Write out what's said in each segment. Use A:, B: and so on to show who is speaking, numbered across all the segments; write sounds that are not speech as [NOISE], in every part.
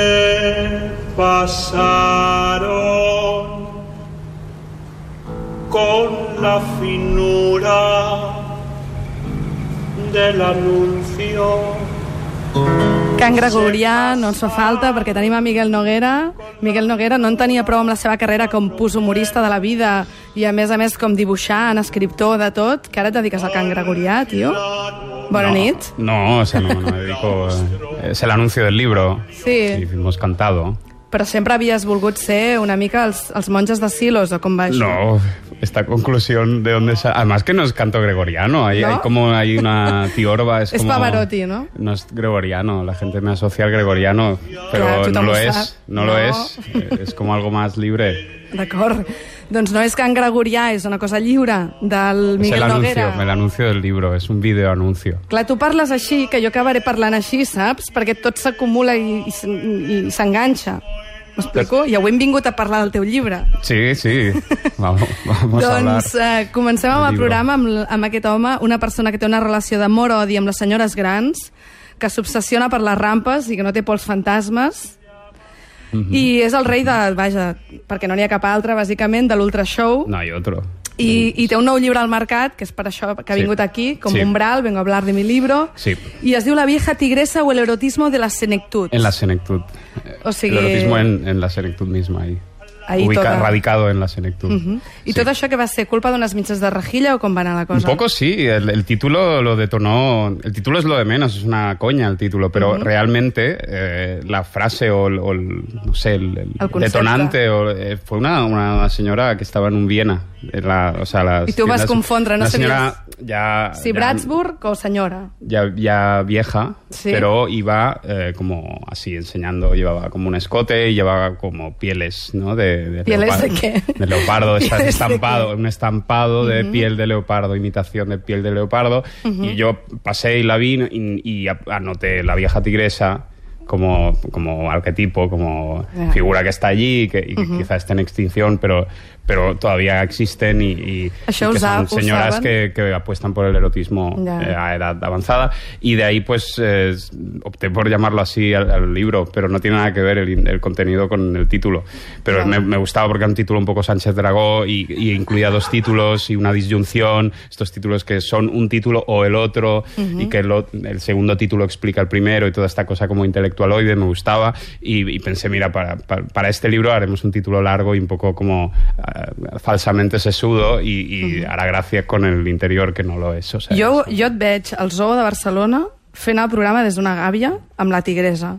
A: eh, pasaron con la finura del anuncio.
B: Can Gregorià no ens fa falta perquè tenim a Miguel Noguera. Miguel Noguera no en tenia prou amb la seva carrera com pus humorista de la vida i a més a més com dibuixant, escriptor, de tot, que ara et dediques al Can Gregorià, tio. Bona
C: no,
B: nit.
C: No, o sea, no, no me
B: [LAUGHS]
C: dedico... eh, Es el anuncio del libro.
B: Sí.
C: Y hemos cantado.
B: Però sempre havies volgut ser una mica els, els monges de Silos, o com va això?
C: No, esta conclusión de dónde sale... Además que no es canto gregoriano, hay,
B: ¿No?
C: hay como hay una tiorba,
B: [LAUGHS]
C: es
B: Es
C: como...
B: Pavarotti, ¿no?
C: No es gregoriano, la gente me asocia al gregoriano, pero
B: Claro, tú
C: no lo
B: tampoco sabes.
C: es, no,
B: No.
C: lo es, eh, es como algo más libre.
B: [LAUGHS] D'acord. Doncs no és Can Gregorià, és una cosa lliure del
C: es
B: Miguel
C: el anuncio,
B: Noguera.
C: el anuncio del libro, es un video anuncio.
B: Clar, tu parles així, que jo acabaré parlant així, saps? Perquè tot s'acumula i, i, s- i s'enganxa. M'explico? I avui hem vingut a parlar del teu llibre.
C: Sí,
B: [LAUGHS]
C: sí, vamos, vamos a hablar.
B: doncs eh, comencem amb el
C: del llibre.
B: programa amb, l- amb aquest home, una persona que té una relació d'amor-odi amb les senyores grans, que s'obsessiona per les rampes i que no té por als fantasmes.
C: Mhm.
B: I és el rei de, vaja, perquè no n'hi ha cap altre, bàsicament, de l'ultrashow.
C: No hay otro.
B: I, I té un nou llibre al mercat, que és per això que ha
C: Mm. Sí.
B: vingut aquí, com
C: Sí.
B: Umbral, vengo a hablar de mi libro,
C: Sí.
B: i es diu La vieja tigresa o el erotismo de la senectud.
C: En la senectud. eh,
B: O sigui-
C: El erotismo en, en la senectud misma, ahí.
B: Ahí
C: Ubica-
B: toda.
C: Radicado en la senectud.
B: I
C: Sí.
B: tot això que va ser culpa d'unes mitges de rejilla o com va anar la
C: Un
B: cosa?
C: poco sí, el, el título lo detonó. El título es lo de menos, es una coña el título, pero realmente eh, la frase o, el- o el, no sé, el, el
B: El concepte.
C: detonante o, eh, fue una, una señora que estaba en un Viena. en la- o sea, las
B: I tu vas
C: tiendas-
B: confondre, no
C: Una
B: sabies
C: señora ya.
B: Sí,
C: ya-
B: Bratsburg o senyora.
C: ya, ya vieja,
B: Sí.
C: pero iba eh, como así enseñando, llevaba como un escote y llevaba como pieles, ¿no? De, de
B: ¿Pieles
C: leopardo.
B: de qué? [LAUGHS]
C: De leopardo,
B: ¿Pieles
C: está
B: de
C: estampado, un estampado de piel de leopardo, imitación de piel de leopardo. Y yo pasé y la vi y, y a- anoté la vieja tigresa. Como, como arquetipo, como
B: Ya.
C: figura que está allí y que, y que quizá está en extinción, pero, pero todavía existen y, y-
B: Això
C: y que
B: us ha-
C: son
B: us
C: señoras
B: saben?
C: que, que, que apuestan por el erotismo
B: Ya.
C: eh, a edad avanzada y de ahí pues eh, opté por llamarlo así al, al libro, pero no tiene nada que ver el, el contenido con el título. Pero
B: Claro.
C: me, me gustaba porque era un título un poco Sánchez Dragó y, y incluía dos títulos y una disyunción, estos títulos que son un título o el otro y que el, ot- el segundo título explica el primero y toda esta cosa como intelectualoide me gustaba y, y pensé, mira, para, para, para este libro haremos un título largo y un poco como ah, falsamente sesudo y, y hará gracia con el interior que no lo es. O sea,
B: Jo,
C: es-
B: jo et veig al zoo de Barcelona fent el programa des d'una gàbia amb la tigresa.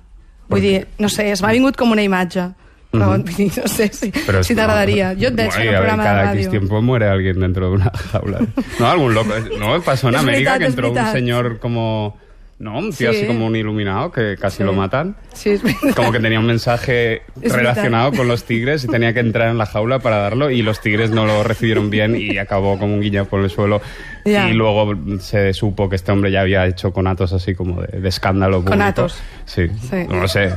B: Vull dir, no sé, es m'ha vingut com una imatge. Però, vull dir, no sé si,
C: Pero
B: si
C: esto-
B: t'agradaria. Jo et veig fent un
C: Bueno, a ver,
B: programa de
C: cada X
B: ràdio.
C: tiempo muere alguien dentro de una jaula. No, algún loco. eh,
B: [LAUGHS]
C: No, pasó en
B: Es
C: América
B: verdad,
C: que
B: es
C: entró un
B: verdad.
C: señor como... No, un tío
B: Sí.
C: así como un iluminado que casi
B: Sí.
C: lo matan.
B: Sí, és veritat.
C: Como que tenía un mensaje
B: [LAUGHS] Es
C: relacionado con los tigres y tenía que entrar en la jaula para darlo y los tigres no lo recibieron bien y acabó como un guiño por el suelo.
B: Ya.
C: Y luego se supo que este hombre ya había hecho conatos así como de, de escándalo. público.
B: Conatos.
C: Sí,
B: Sí.
C: no lo sé.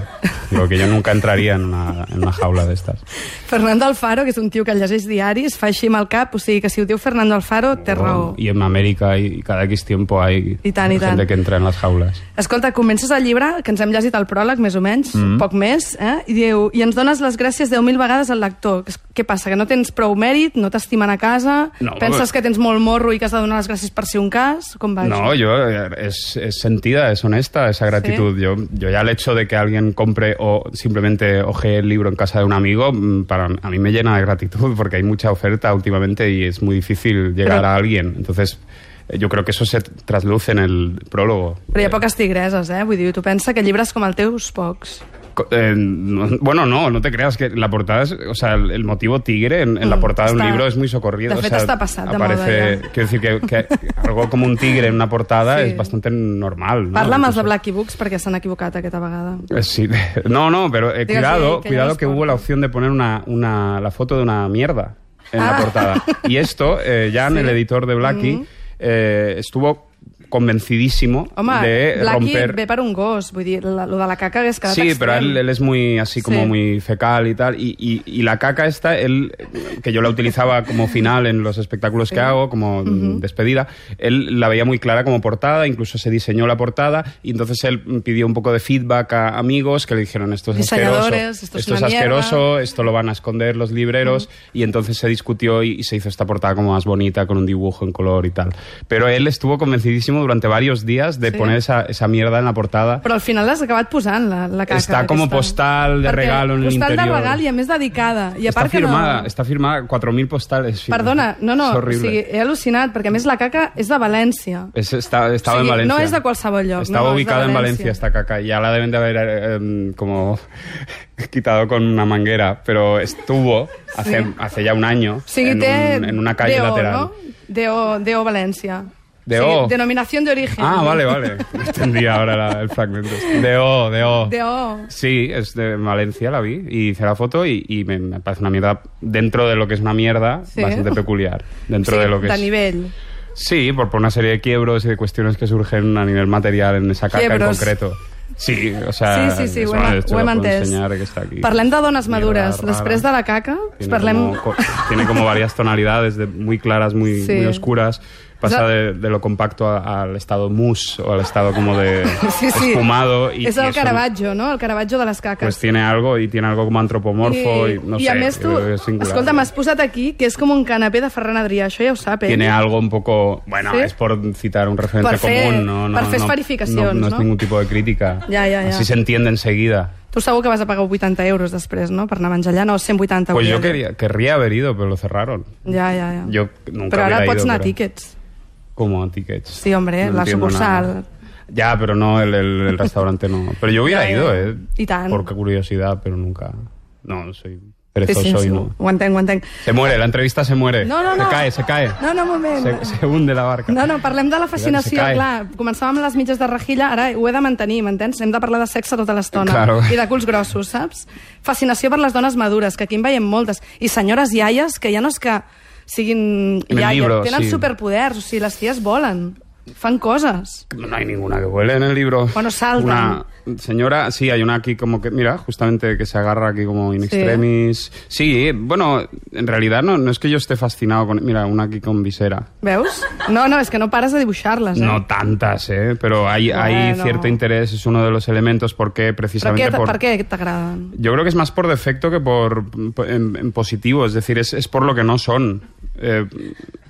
C: Digo que yo nunca entraría en una- en una jaula de estas.
B: Fernando Alfaro, que és un tio que llegeix diaris, fa així amb el cap, o sigui que si ho diu Fernando Alfaro, té raó.
C: Y en América hay, cada X tiempo hay
B: Y tan, y
C: gente
B: tan.
C: que entra en las jaulas.
B: Escolta, comences el llibre, que ens hem llegit el pròleg, més o menys, mm -hmm. poc més, eh? i diu, i ens dones les gràcies 10.000 vegades al lector. Que és- Què passa, que no tens prou mèrit, no t'estimen a casa,
C: No,
B: penses
C: però-
B: que tens molt morro i que has de donar les gràcies per si un cas? Com va
C: No,
B: això?
C: yo eh, es, es sentida, es honesta esa gratitud. Yo, yo ya el hecho de que alguien compre o simplemente oje el libro en casa de un amigo, mm, para a mí me llena de gratitud porque hay mucha oferta últimamente y es muy difícil llegar
B: Pero-
C: a alguien. Entonces, eh, yo creo que eso se trasluce en el prólogo.
B: Però hi ha
C: Eh,
B: poques tigreses, eh? Vull dir, tu pensa que llibres com el teu, pocs.
C: Co- eh, no- bueno, no, no te creas que la portada es, o sea, el, el motivo tigre en, en la
B: Mm,
C: portada de
B: está-
C: un libro es muy socorrido.
B: de
C: o
B: fet,
C: sea,
B: está pasado de
C: aparece,
B: moda ya.
C: quiero decir que, que algo como un tigre en una portada
B: Sí.
C: es bastante normal. ¿no?
B: Parla amb els de
C: Incluso-
B: Blacky Books perquè s'han equivocat aquesta vegada.
C: Eh, Sí. No, no, pero eh,
B: Digo,
C: cuidado,
B: sí, que ya
C: cuidado
B: nos
C: que hubo
B: cortan.
C: la opción de poner una, una, la foto de una mierda en
B: Ah. [LAUGHS]
C: la portada. Y esto, eh, Jan, el editor de Blackie, eh, estuvo convencidísimo
B: Home,
C: de
B: Blackie
C: romper...
B: ve per un gos, vull dir, la, lo de la caca hagués quedat
C: Sí,
B: extrem.
C: pero él, él es muy así como
B: Sí.
C: muy fecal y tal. Y, y- y la caca esta, él, que yo la utilizaba como final en los espectáculos que hago, como despedida, él la veía muy clara como portada, incluso se diseñó la portada y entonces él pidió un poco de feedback a amigos que le dijeron esto es
B: Diseñadores,
C: asqueroso,
B: esto es una mierda".
C: asqueroso, esto lo van a esconder los libreros y entonces se discutió y, y se hizo esta portada como más bonita con un dibujo en color y tal. Pero él estuvo convencidísimo durante varios días de
B: Sí.
C: poner esa, esa mierda en la portada
B: Però al final l'has acabat posant, la, la caca.
C: Està com a
B: aquesta.
C: postal de
B: Perquè
C: regalo en
B: Postal de
C: l'interior.
B: regal i a més dedicada. I a
C: está
B: part que
C: firmada,
B: no...
C: está firmada 4.000 postales. firma.
B: Perdona, no, no,
C: Es
B: o
C: horrible.
B: sigui, he al·lucinat, perquè a més la caca és de València.
C: Es- está- estaba
B: O sigui,
C: en Valencia.
B: no es de qualsevol lloc,
C: Estaba
B: no, es de
C: ubicada en
B: Valencia.
C: Valencia esta caca. Ya la deben de haber eh, em, como [LAUGHS] quitado con una manguera, pero estuvo hace,
B: Sí.
C: hace ya un año
B: O sigui,
C: en,
B: té
C: un- en una calle
B: DO,
C: lateral.
B: No? DO, DO València.
C: DO.
B: O sigui, denominación de origen.
C: Ah, vale, vale. [LAUGHS] Entendí ahora la- el fragmento. De O, de O.
B: DO.
C: Sí, es de Valencia, la vi y hice la foto y, y me, me parece una mierda dentro de lo que es una mierda
B: Sí.
C: bastante peculiar. Dentro
B: sí,
C: de lo que
B: de
C: es.
B: nivell.
C: Sí, por, por una serie de quiebros y de cuestiones que surgen a nivel material en esa caca
B: Quiebros.
C: en concreto. Sí, o sea...
B: Sí, sí, sí,
C: Ah, es
B: ho
C: una-
B: hem,
C: esto
B: ho hem
C: la puedo
B: entès.
C: enseñar, que está aquí.
B: Parlem de dones
C: Mierda
B: madures.
C: rara.
B: Després de la caca,
C: Tiene
B: parlem...
C: Como, co- tiene como varias tonalidades de- muy claras, muy,
B: Sí.
C: muy oscuras. Pasa
B: O sea-
C: de, de lo compacto a- al estado mousse o al estado como de
B: [LAUGHS] Sí, sí.
C: espumado.
B: [LAUGHS]
C: Y,
B: és
C: y
B: el
C: eso,
B: Caravaggio, no? El Caravaggio de les caques.
C: Pues tiene algo y tiene algo como antropomorfo y, no
B: i
C: sé.
B: a més tu,
C: es singular.
B: escolta, m'has posat aquí que és com un canapé de Ferran Adrià, això ja ho sap, eh? ell.
C: tiene algo un poco bueno
B: ¿Sí?
C: es por citar un referente
B: Per fer-
C: común no no
B: per fer
C: no,
B: esferificacions,
C: no, no es
B: no?
C: ningún tipo de crítica
B: Ya, ya, ya.
C: así se entiende enseguida
B: Tu segur que vas a pagar 80 euros després, no?, per anar a menjar allà, no, 180
C: pues yo
B: euros.
C: quería, querría haber ido pero lo cerraron
B: eh? Ja, ja, ja.
C: Yo nunca
B: però ara
C: hubiera
B: pots
C: ido,
B: anar a
C: pero-
B: tickets.
C: como tickets
B: Sí, hombre, la
C: entiendo
B: sucursal.
C: nada. ya pero no el, el- el restaurante no pero
B: [LAUGHS]
C: yo hubiera
B: Ya, ya.
C: ido eh
B: Y tan.
C: por curiosidad pero nunca no soy perezoso y no
B: Ho entenc, ho entenc.
C: se muere la entrevista se muere
B: No, no,
C: se
B: no.
C: cae se cae
B: No, no, un moment.
C: se, se hunde la barca
B: No, no, parlem de la fascinació,
C: cae.
B: clar. Començàvem amb les mitges de rejilla, ara ho he de mantenir, m'entens? Hem de parlar de sexe tota l'estona.
C: Claro.
B: I de culs grossos, saps? Fascinació per les dones madures, que aquí en veiem moltes. I senyores iaies, que ja no és que siguin
C: Me
B: iaies,
C: libro,
B: tenen
C: sí.
B: superpoders, o sigui, les ties volen, fan coses.
C: No hay ninguna que huele en el libro.
B: Bueno, saltan.
C: Una señora, sí, hay una aquí como que, mira, justamente que se agarra aquí como in
B: Sí.
C: extremis. Sí, bueno, en realidad no, no es que yo esté fascinado con... Mira, una aquí con visera.
B: Veus? No, no, és que no pares de dibuixar-les, eh?
C: No tantas, ¿eh? Pero hay, hay
B: Bueno.
C: cierto interés, es uno de los elementos porque
B: Però
C: precisamente
B: què,
C: por...
B: per què t'agraden?
C: Yo creo que es más por defecto que por por- en, en positivo, es decir, es, es por lo que no son. Eh,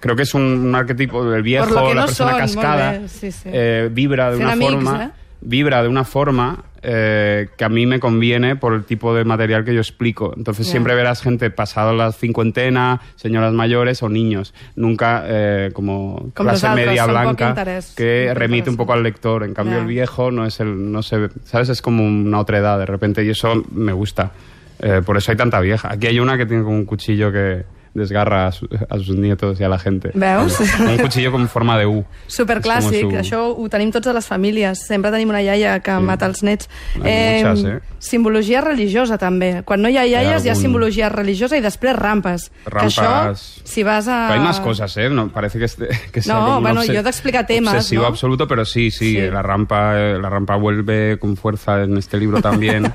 C: creo que es un, un arquetipo del
B: Por lo
C: viejo,
B: que
C: la
B: no
C: persona
B: son,
C: cascada,
B: molt bé, sí, sí.
C: eh, vibra de
B: Fent
C: una
B: amics,
C: forma,
B: eh?
C: vibra de una forma eh, que a mí me conviene por el tipo de material que yo explico. Entonces
B: Ya.
C: siempre verás gente pasado la cincuentena, señoras mayores o niños, nunca eh, como,
B: Como
C: clase
B: los altos,
C: media
B: son poco
C: blanca
B: interés,
C: que
B: poco
C: remite un
B: interés.
C: poco al lector. En cambio
B: Ya.
C: el viejo no es el, no se, sabes, es como una otra edad de repente y eso me gusta. Eh, por eso hay tanta vieja. Aquí hay una que tiene como un cuchillo que desgarra a, su- a sus nietos y a la gente.
B: Veus?
C: Un cuchillo con forma de U. Es
B: Superclàssic,
C: como su-
B: això ho tenim tots a les famílies. Sempre tenim una iaia que
C: Sí.
B: mata els nets.
C: Hay muchas, eh?
B: Simbologia religiosa, també. Quan no hi ha iaies, hi ha
C: algun-
B: simbologia religiosa i després rampes.
C: Rampes.
B: Que això, si vas a...
C: Pero hay más cosas, ¿eh? No, parece que, este- que sea
B: Ah. No,
C: como un
B: bueno,
C: obses-
B: yo te expliqué temas,
C: Obsesivo
B: ¿no?
C: absoluto, pero sí, sí,
B: Sí.
C: eh, La, rampa, eh, la rampa vuelve con fuerza en este
B: [LAUGHS]
C: libro también.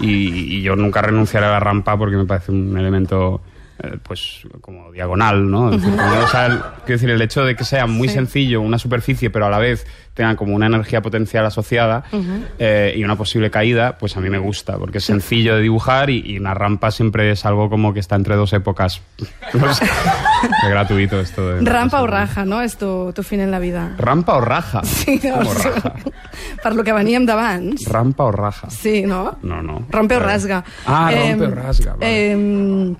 C: y, y yo nunca renunciaré a la rampa porque me parece un elemento, eh, pues, como diagonal, ¿no? Es decir, como, o sea, el- quiero decir, el hecho de que sea muy sencillo una superficie, pero a la vez tenga como una energía potencial asociada eh, y una posible caída, pues a mí me gusta, porque es sencillo de dibujar y, y una rampa siempre es algo como que está entre dos épocas. [LAUGHS] No
B: [LAUGHS]
C: sé. Qué gratuito esto de...
B: Rampa o raja, no? És tu, tu fin en la vida.
C: Rampa o raja.
B: Sí, no,
C: ¿Cómo raja?
B: [LAUGHS] per lo que veníem d'abans.
C: Rampa o raja.
B: Sí, no?
C: No, no.
B: Rompe o
C: Eh,
B: rasga.
C: Ah,
B: Em,
C: rompe o rasga. Vale.
B: em,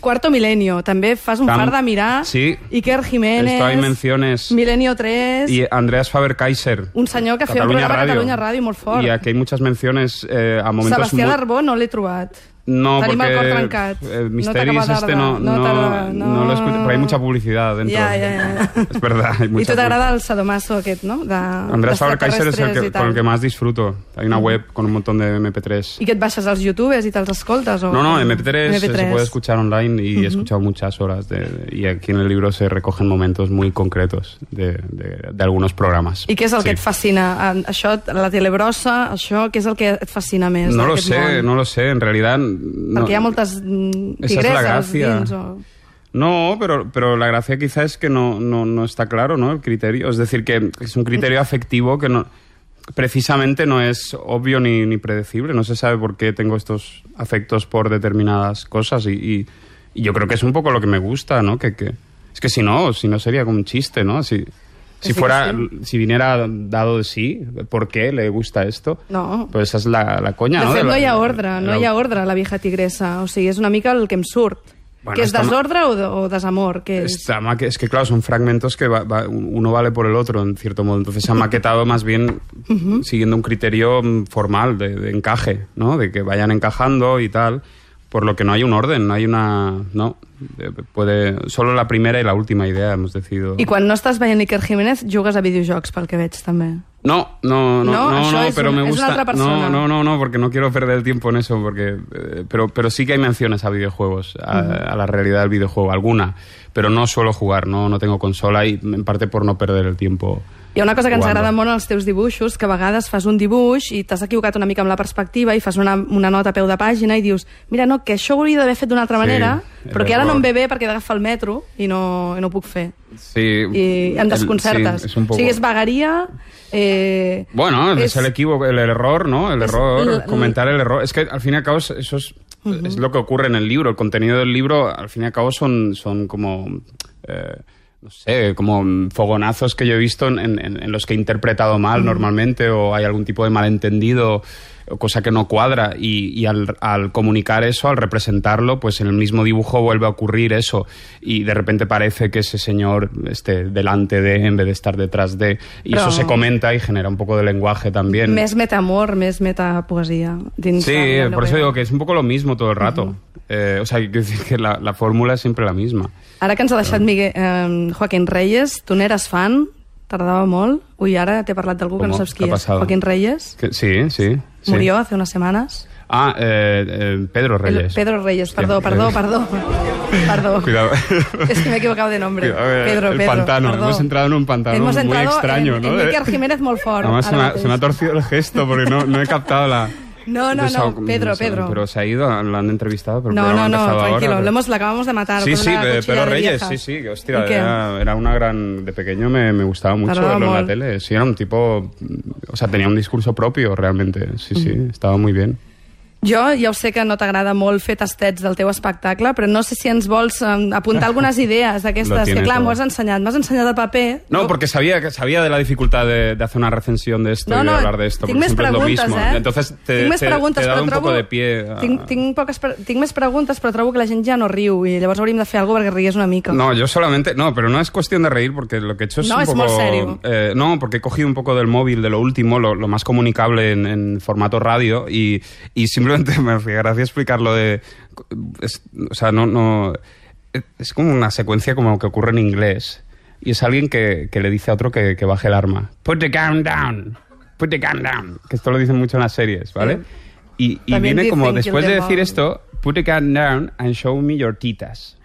B: Cuarto Milenio, també fas un
C: Tam-
B: far de mirar.
C: Sí.
B: Iker Jiménez.
C: Esto hay menciones.
B: Milenio 3.
C: Y Andreas Faber-Kaiser.
B: Un senyor que feia un programa a Catalunya Ràdio molt fort.
C: Y aquí hay muchas menciones eh, a momentos
B: Sebastià
C: muy-
B: Darbó no l'he trobat.
C: No,
B: Tenim el
C: porque
B: cor trencat.
C: el
B: No
C: Misteris
B: t'acaba
C: este
B: d'agradar.
C: no,
B: No
C: no,
B: t'agrada, no.
C: no lo escucho, pero hay mucha publicidad dentro.
B: Ya, ya, ya.
C: [LAUGHS] Es verdad, hay
B: I
C: mucha
B: tu
C: publicidad.
B: t'agrada el sadomaso aquest, no? De,
C: Andrés Faber Kaiser es el
B: d'extraterrestres
C: que,
B: i tal.
C: con el que más disfruto. Hay una web con un montón de MP3.
B: I que et baixes als youtubers i te'ls escoltes? O...
C: No, no, MP3, se puede escuchar online y he escuchado muchas horas. de- y aquí en el libro se recogen momentos muy concretos de, de- de algunos programas.
B: I què és el
C: Sí.
B: que et fascina? En- Això, la telebrossa, això, què és el que et fascina més?
C: No lo
B: d'aquest
C: sé,
B: món?
C: no lo sé. En realidad. no-
B: Perquè hi ha moltes mm,
C: Esa es la
B: tigreses
C: gracia.
B: dins. O...
C: No, pero, pero la gracia quizá es que no, no, no está claro, ¿no? El criterio. Es decir, que es un criterio afectivo que no precisamente no es obvio ni, ni predecible. No se sabe por qué tengo estos afectos por determinadas cosas. Y, y- y yo creo que es un poco lo que me gusta, ¿no? Que, que- es que si no, si no sería como un chiste, ¿no? Si,
B: sí,
C: si
B: que
C: fuera,
B: sí.
C: si viniera dado de sí, ¿por qué le gusta esto?
B: No.
C: Pues esa es la, la coña,
B: De
C: ¿no?
B: fet,
C: la-
B: no hi ha ordre, no
C: la-
B: hi ha ordre a la vieja tigresa. O sigui, és una mica el que em surt.
C: Bueno,
B: que és
C: està-
B: desordre o, de- o desamor? Que és...
C: Está ma- que- es que, claro, son fragmentos que va- va- uno vale por el otro, en cierto modo. Entonces se ha maquetado más bien siguiendo un criterio mm, formal de, de encaje, ¿no? De que vayan encajando y tal. Por lo que no hay un orden, no hay una. No. Eh, Puede, solo la primera y la última idea hemos decidido.
B: I quan no estàs veient Iker Jiménez, jugues a videojocs, pel que veig, també.
C: No, no, no,
B: No,
C: no,
B: això
C: no,
B: es
C: pero
B: un-
C: me
B: es una
C: gusta.
B: otra persona.
C: No, no, no, no, porque no quiero perder el tiempo en eso, porque eh, pero pero sí que hay menciones a videojuegos, a, a la realidad del videojuego, alguna, pero no suelo jugar, no no tengo consola y en parte por no perder el tiempo.
B: Hi ha una cosa que ens
C: jugando.
B: agrada molt als teus dibuixos, que a vegades fas un dibuix i t'has equivocat una mica amb la perspectiva i fas una, una nota a peu de pàgina i dius mira, no, que això ho hauria d'haver fet d'una altra
C: Sí,
B: manera, però que ara
C: error.
B: no em ve bé perquè he d'agafar el metro i no, i no ho puc fer.
C: Sí.
B: I em
C: el-
B: desconcertes.
C: sí, es un
B: O
C: poco...
B: sigui, és vagaria... Eh,
C: Bueno, es,
B: es-
C: el equívoco, el error, ¿no? El
B: es
C: error,
B: la-
C: comentar el error. Es que al fin y al cabo es- eso es, es lo que ocurre en el libro. El contenido del libro, al fin y al cabo, son, son como. eh, no sé, como mm, fogonazos que yo he visto en, en- en los que he interpretado mal normalmente o hay algún tipo de malentendido o cosa que no cuadra y, y al, al comunicar eso, al representarlo, pues en el mismo dibujo vuelve a ocurrir eso y de repente parece que ese señor esté delante de en vez de estar detrás de y
B: Pero-
C: eso se come comenta y genera un poco de lenguaje también.
B: Més metamor, més metapoesia. Dins
C: sí,
B: de la
C: por eso
B: novel·la.
C: digo que es un poco lo mismo todo el rato. Eh, o sea, que, que la, la fórmula es siempre la misma.
B: Ara que ens ha deixat Miguel, eh, Joaquín Reyes, tu n'eres fan? Tardava molt. Ui, ara t'he parlat d'algú que no
C: ¿Cómo?
B: saps qui
C: ¿Qué ha
B: és.
C: pasado?
B: Joaquín Reyes
C: Que- sí, sí. sí.
B: murió hace unas semanas.
C: Ah, eh, eh, Pedro Reyes.
B: El- Pedro Reyes,
C: Hostia,
B: perdó,
C: eh, [LAUGHS]
B: perdón, perdón. Perdón.
C: Cuidado.
B: [LAUGHS] Es que me he equivocado de nombre.
C: Cuidado, eh,
B: Pedro,
C: el
B: Pedro.
C: pantano.
B: perdó.
C: Hemos entrado en un pantano
B: Hemos
C: muy
B: entrado
C: extraño,
B: en,
C: ¿no? Eh,
B: en Iker Jiménez Molfort.
C: Además, se
B: ara
C: me, ha,
B: mateix.
C: se me ha torcido el gesto porque no, no he captado la.
B: No, no,
C: Yo sab-
B: no, Pedro,
C: sé,
B: Pedro.
C: Pero se ha ido, lo han entrevistado. Pero el
B: No,
C: programa
B: no,
C: ha
B: no,
C: empezado ahora,
B: tranquilo.
C: pero-
B: Ah, lo hemos, la acabamos de matar.
C: Sí,
B: con
C: sí,
B: una
C: pe-
B: cuchilla
C: Pedro
B: de
C: Reyes,
B: vieja.
C: sí, sí, que,
B: ¿Y
C: hostia,
B: qué?
C: era, era una gran... De pequeño me, me gustaba mucho
B: Tardaba
C: verlo en
B: molt.
C: la tele, sí, era un tipo... O sea, tenía un discurso propio realmente, sí, sí, estaba muy bien.
B: Jo ja ho sé que no t'agrada molt fer tastets del teu espectacle, però no sé si ens vols em, apuntar algunes idees
C: Lo
B: d'aquestes, que
C: tiene
B: clar, m'ho
C: todo.
B: has ensenyat. M'has ensenyat el paper.
C: No, porque sabía que sabía de la dificultad de, de hacer una recensión de esto
B: No,
C: y de
B: no,
C: hablar de esto,
B: tinc
C: porque
B: més
C: siempre es lo
B: preguntes,
C: mismo.
B: eh?
C: Entonces te,
B: tinc més
C: te- te
B: preguntes,
C: he
B: però
C: dado un
B: trobo...
C: poco de pie. a-
B: Tinc, tinc, poques, pre- tinc més preguntes, però trobo que la gent ja no riu i llavors hauríem de fer alguna cosa perquè rigués una mica.
C: No, yo solamente... No, pero no es cuestión de reír porque lo que he hecho es
B: No,
C: un
B: es
C: poco...
B: muy serio.
C: eh, no, porque he cogido un poco del móvil, de lo último, lo, lo más comunicable en, en formato radio y, y simplemente [LAUGHS] me hacía gracia explicar lo de... es- o sea, no, no... Es como una secuencia como que ocurre en inglés y es alguien que, que le dice a otro que, que baje el arma. Put the gun down. Put the gun down. Que esto lo dicen mucho en las series, ¿vale? Y, y
B: También
C: viene como
B: dicen
C: después
B: kill
C: de
B: them
C: decir
B: all.
C: esto, put the gun down and show me your titas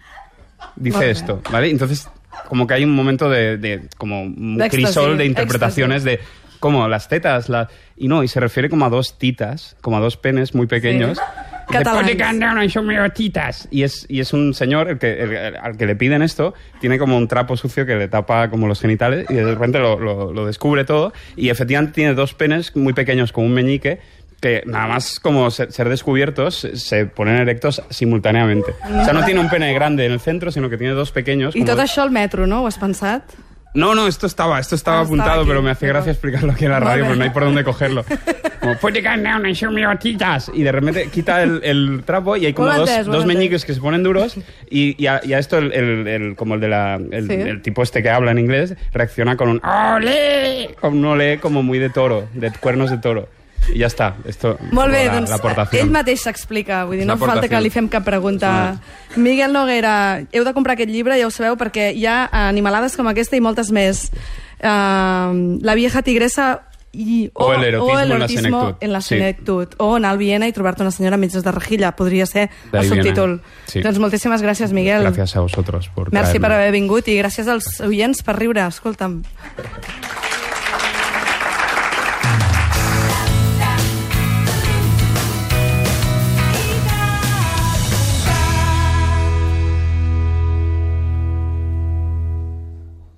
C: dice
B: Vale.
C: esto, ¿vale? Entonces, como que hay un momento de, de- como un
B: De éxtasis,
C: crisol de interpretaciones de como las tetas, la y no, y se refiere como a dos titas, como a dos penes muy pequeños. Dice,
B: Catalanes.
C: "Put the gun down and show me your titas". Y es, y es un señor el que, el- el- al que le piden esto, tiene como un trapo sucio que le tapa como los genitales y de repente lo, lo- lo descubre todo y efectivamente tiene dos penes muy pequeños como un meñique que nada más como se- ser descubiertos se- se ponen erectos simultáneamente. O sea, no tiene un pene grande en el centro, sino que tiene dos pequeños.
B: I
C: como-
B: tot això al metro, no? Ho has pensat?
C: No, no, esto estaba, esto estaba
B: Ah, estaba
C: apuntado,
B: aquí.
C: pero me hace
B: Perdón.
C: gracia explicarlo aquí en la
B: Vale.
C: radio, porque no hay por
B: [LAUGHS]
C: dónde cogerlo. Como, "Pues put the gun down and show me your titas. Y de repente quita el, el trapo y hay como
B: Bueno,
C: dos,
B: antes, bueno,
C: dos
B: antes.
C: meñiques que se ponen duros y, y a, y a esto el, el- el- como el de la, el,
B: Sí.
C: el tipo este que habla en inglés reacciona con un ole, con un ole como muy de toro, de cuernos de toro. Y ya está. Esto,
B: Molt bé,
C: la-
B: doncs
C: la aportación.
B: ell mateix s'explica, vull dir,
C: És
B: no
C: una
B: fa falta que
C: aportació.
B: li fem cap pregunta. Miguel Noguera, heu de comprar aquest llibre, ja ho sabeu, perquè hi ha animalades com aquesta i moltes més. Uh, la vieja tigresa i,
C: O el erotismo
B: o
C: en
B: el
C: la
B: erotismo
C: senectut.
B: en la
C: Sí.
B: senectut. O anar al Viena i trobar-te una senyora mitges de rejilla. Podria ser el
C: D'ahí viene.
B: subtítol.
C: Sí.
B: Doncs moltíssimes gràcies, Miguel.
C: Gracias a vosotros por
B: Merci
C: traerme.
B: per haver vingut i gràcies als oients per riure. Escolta'm.